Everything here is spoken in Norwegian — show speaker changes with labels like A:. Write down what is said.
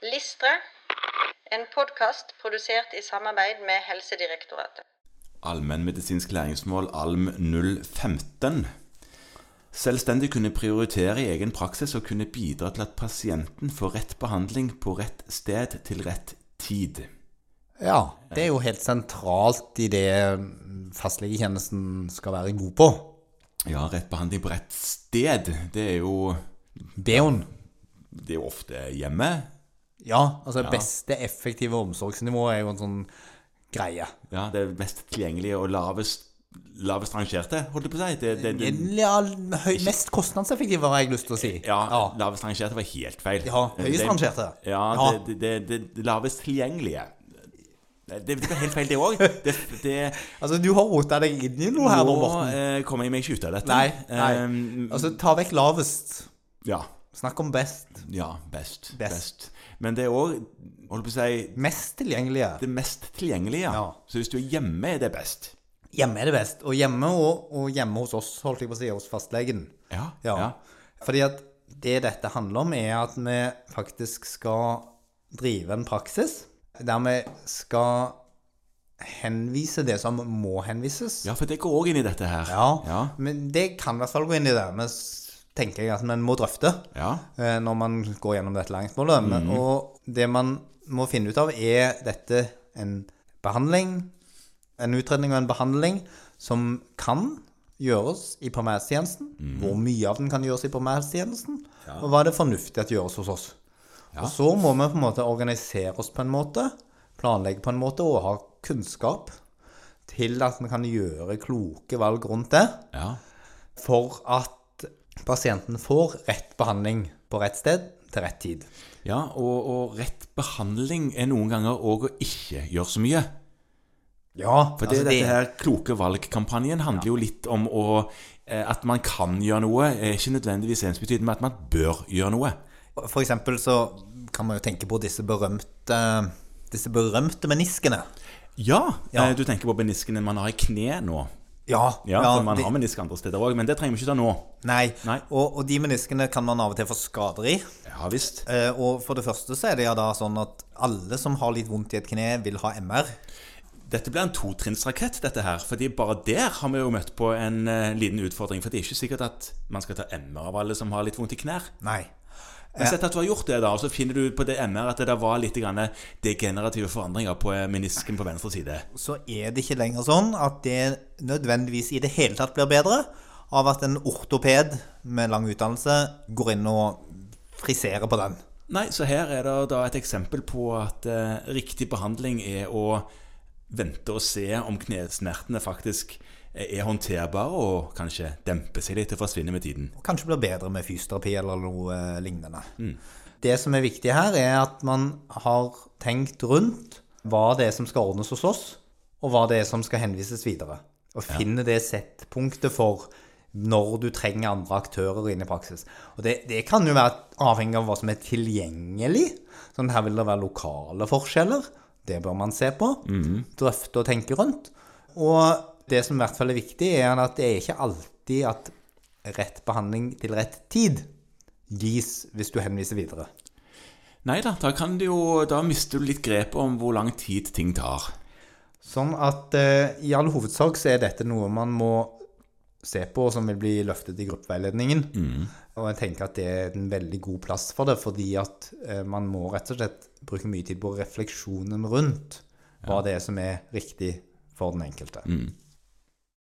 A: Listre, en podkast produsert i samarbeid med Helsedirektoratet.
B: Allmennmedisinsk læringsmål ALM 015. Selvstendig kunne prioritere i egen praksis og kunne bidra til at pasienten får rett behandling på rett sted til rett tid.
C: Ja, det er jo helt sentralt i det mm, fastlegetjenesten skal være god på.
B: Ja, rett behandling på rett sted, det er jo,
C: Det er hun.
B: det er jo ofte hjemme.
C: Ja, altså beste effektive omsorgsnivå er jo en sånn greie.
B: Ja, det er mest tilgjengelige og lavest, lavest rangerte, holdt jeg på å si. Det, det, det,
C: Ja, høy, mest kostnadseffektive, har jeg lyst til å si.
B: ja, lavest rangerte var helt feil.
C: Ja, høyest
B: Det-
C: rangerte.
B: Ja,
C: Ja.
B: Det, det, det, det, det lavest tilgjengelige. Det, det var helt feil, det òg. Det, det,
C: Altså, du har rota deg inn i noe her nå,
B: Nå
C: Morten.
B: eh, kommer jeg meg ikke ut av dette.
C: Nei, nei.
B: Ehm,
C: Altså, ta vekk lavest.
B: ja,
C: Snakk om best.
B: ja, best, best.
C: Best.
B: Men det er òg, holdt på å si,
C: Mest tilgjengelige.
B: det mest tilgjengelige.
C: Ja.
B: Så hvis du er hjemme, er det best.
C: Hjemme er det best. Og hjemme, og, og hjemme hos oss, holdt jeg på å si, hos fastlegen.
B: Ja.
C: Ja. Fordi at det dette handler om, er at vi faktisk skal drive en praksis der vi skal henvise det som må henvises.
B: Ja, for det går òg inn i dette her.
C: Ja.
B: Ja.
C: Men det kan i hvert fall gå inn i det. Vi s- tenker jeg at vi må drøfte
B: Ja.
C: eh, når man går gjennom dette læringsmålet. Men- Og det man må finne ut av, er dette en behandling, en utredning og en behandling som kan gjøres i primærtjenesten. Hvor mye av den kan gjøres i primærtjenesten, og hva er det fornuftig at gjøres hos oss. Og så må vi på en måte organisere oss på en måte, planlegge på en måte og ha kunnskap til at vi kan gjøre kloke valg rundt det
B: ja.
C: for at pasienten får rett behandling på rett sted til rett tid.
B: Ja, og, og rett behandling er noen ganger òg å ikke gjøre så mye.
C: Ja,
B: For Altså, det, dette her kloke valg-kampanjen handler jo litt om å, eh, at man kan gjøre noe. er Ikke nødvendigvis ensbetydende med at man bør gjøre noe.
C: For eksempel så kan man jo tenke på disse berømte, disse berømte meniskene.
B: Ja,
C: Ja.
B: eh, du tenker på meniskene man har i kne nå.
C: Ja,
B: Ja, for man
C: de-
B: har menisk andre steder òg, men det trenger vi ikke ta nå.
C: Nei,
B: Nei.
C: Og, og de meniskene kan man av og til få skader i.
B: Ja visst.
C: Eh, og for det første så er det ja da sånn at alle som har litt vondt i et kne, vil ha MR.
B: Dette blir en totrinnsrakett, dette her. fordi bare der har vi jo møtt på en eh, liten utfordring. For det er ikke sikkert at man skal ta MR av alle som har litt vondt i knær.
C: Nei.
B: Men sett at du har gjort det, da, og så finner du på det MR at det der var litt grann eh, degenerative forandringer på eh, menisken på venstre side.
C: Så er det ikke lenger sånn at det nødvendigvis i det hele tatt blir bedre av at en ortoped med lang utdannelse går inn og friserer på den.
B: Nei, så her er det da et eksempel på at eh, riktig behandling er å vente og se om knesnertene faktisk eh, er håndterbare og kanskje demper seg litt og forsvinner med tiden.
C: og kanskje blir bedre med fysioterapi eller noe eh, lignende. Det som er viktig her, er at man har tenkt rundt hva det er som skal ordnes hos oss, og hva det er som skal henvises videre. Og finne det settpunktet for når du trenger andre aktører inn i praksis. Og det, det kan jo være avhengig av hva som er tilgjengelig. Sånn her vil det være lokale forskjeller. Det bør man se på. Drøfte og tenke rundt. Og det som i hvert fall er viktig, er at det er ikke alltid at rett behandling til rett tid gis hvis du henviser videre.
B: Nei da, da kan du jo Da mister du litt grepet om hvor lang tid ting tar.
C: Sånn at eh, i all hovedsak så er dette noe man må se på, og som vil bli løftet i gruppeveiledningen. Og jeg tenker at det er en veldig god plass for det, fordi at eh, man må rett og slett bruke mye tid på refleksjonen rundt hva det er som er riktig for den enkelte.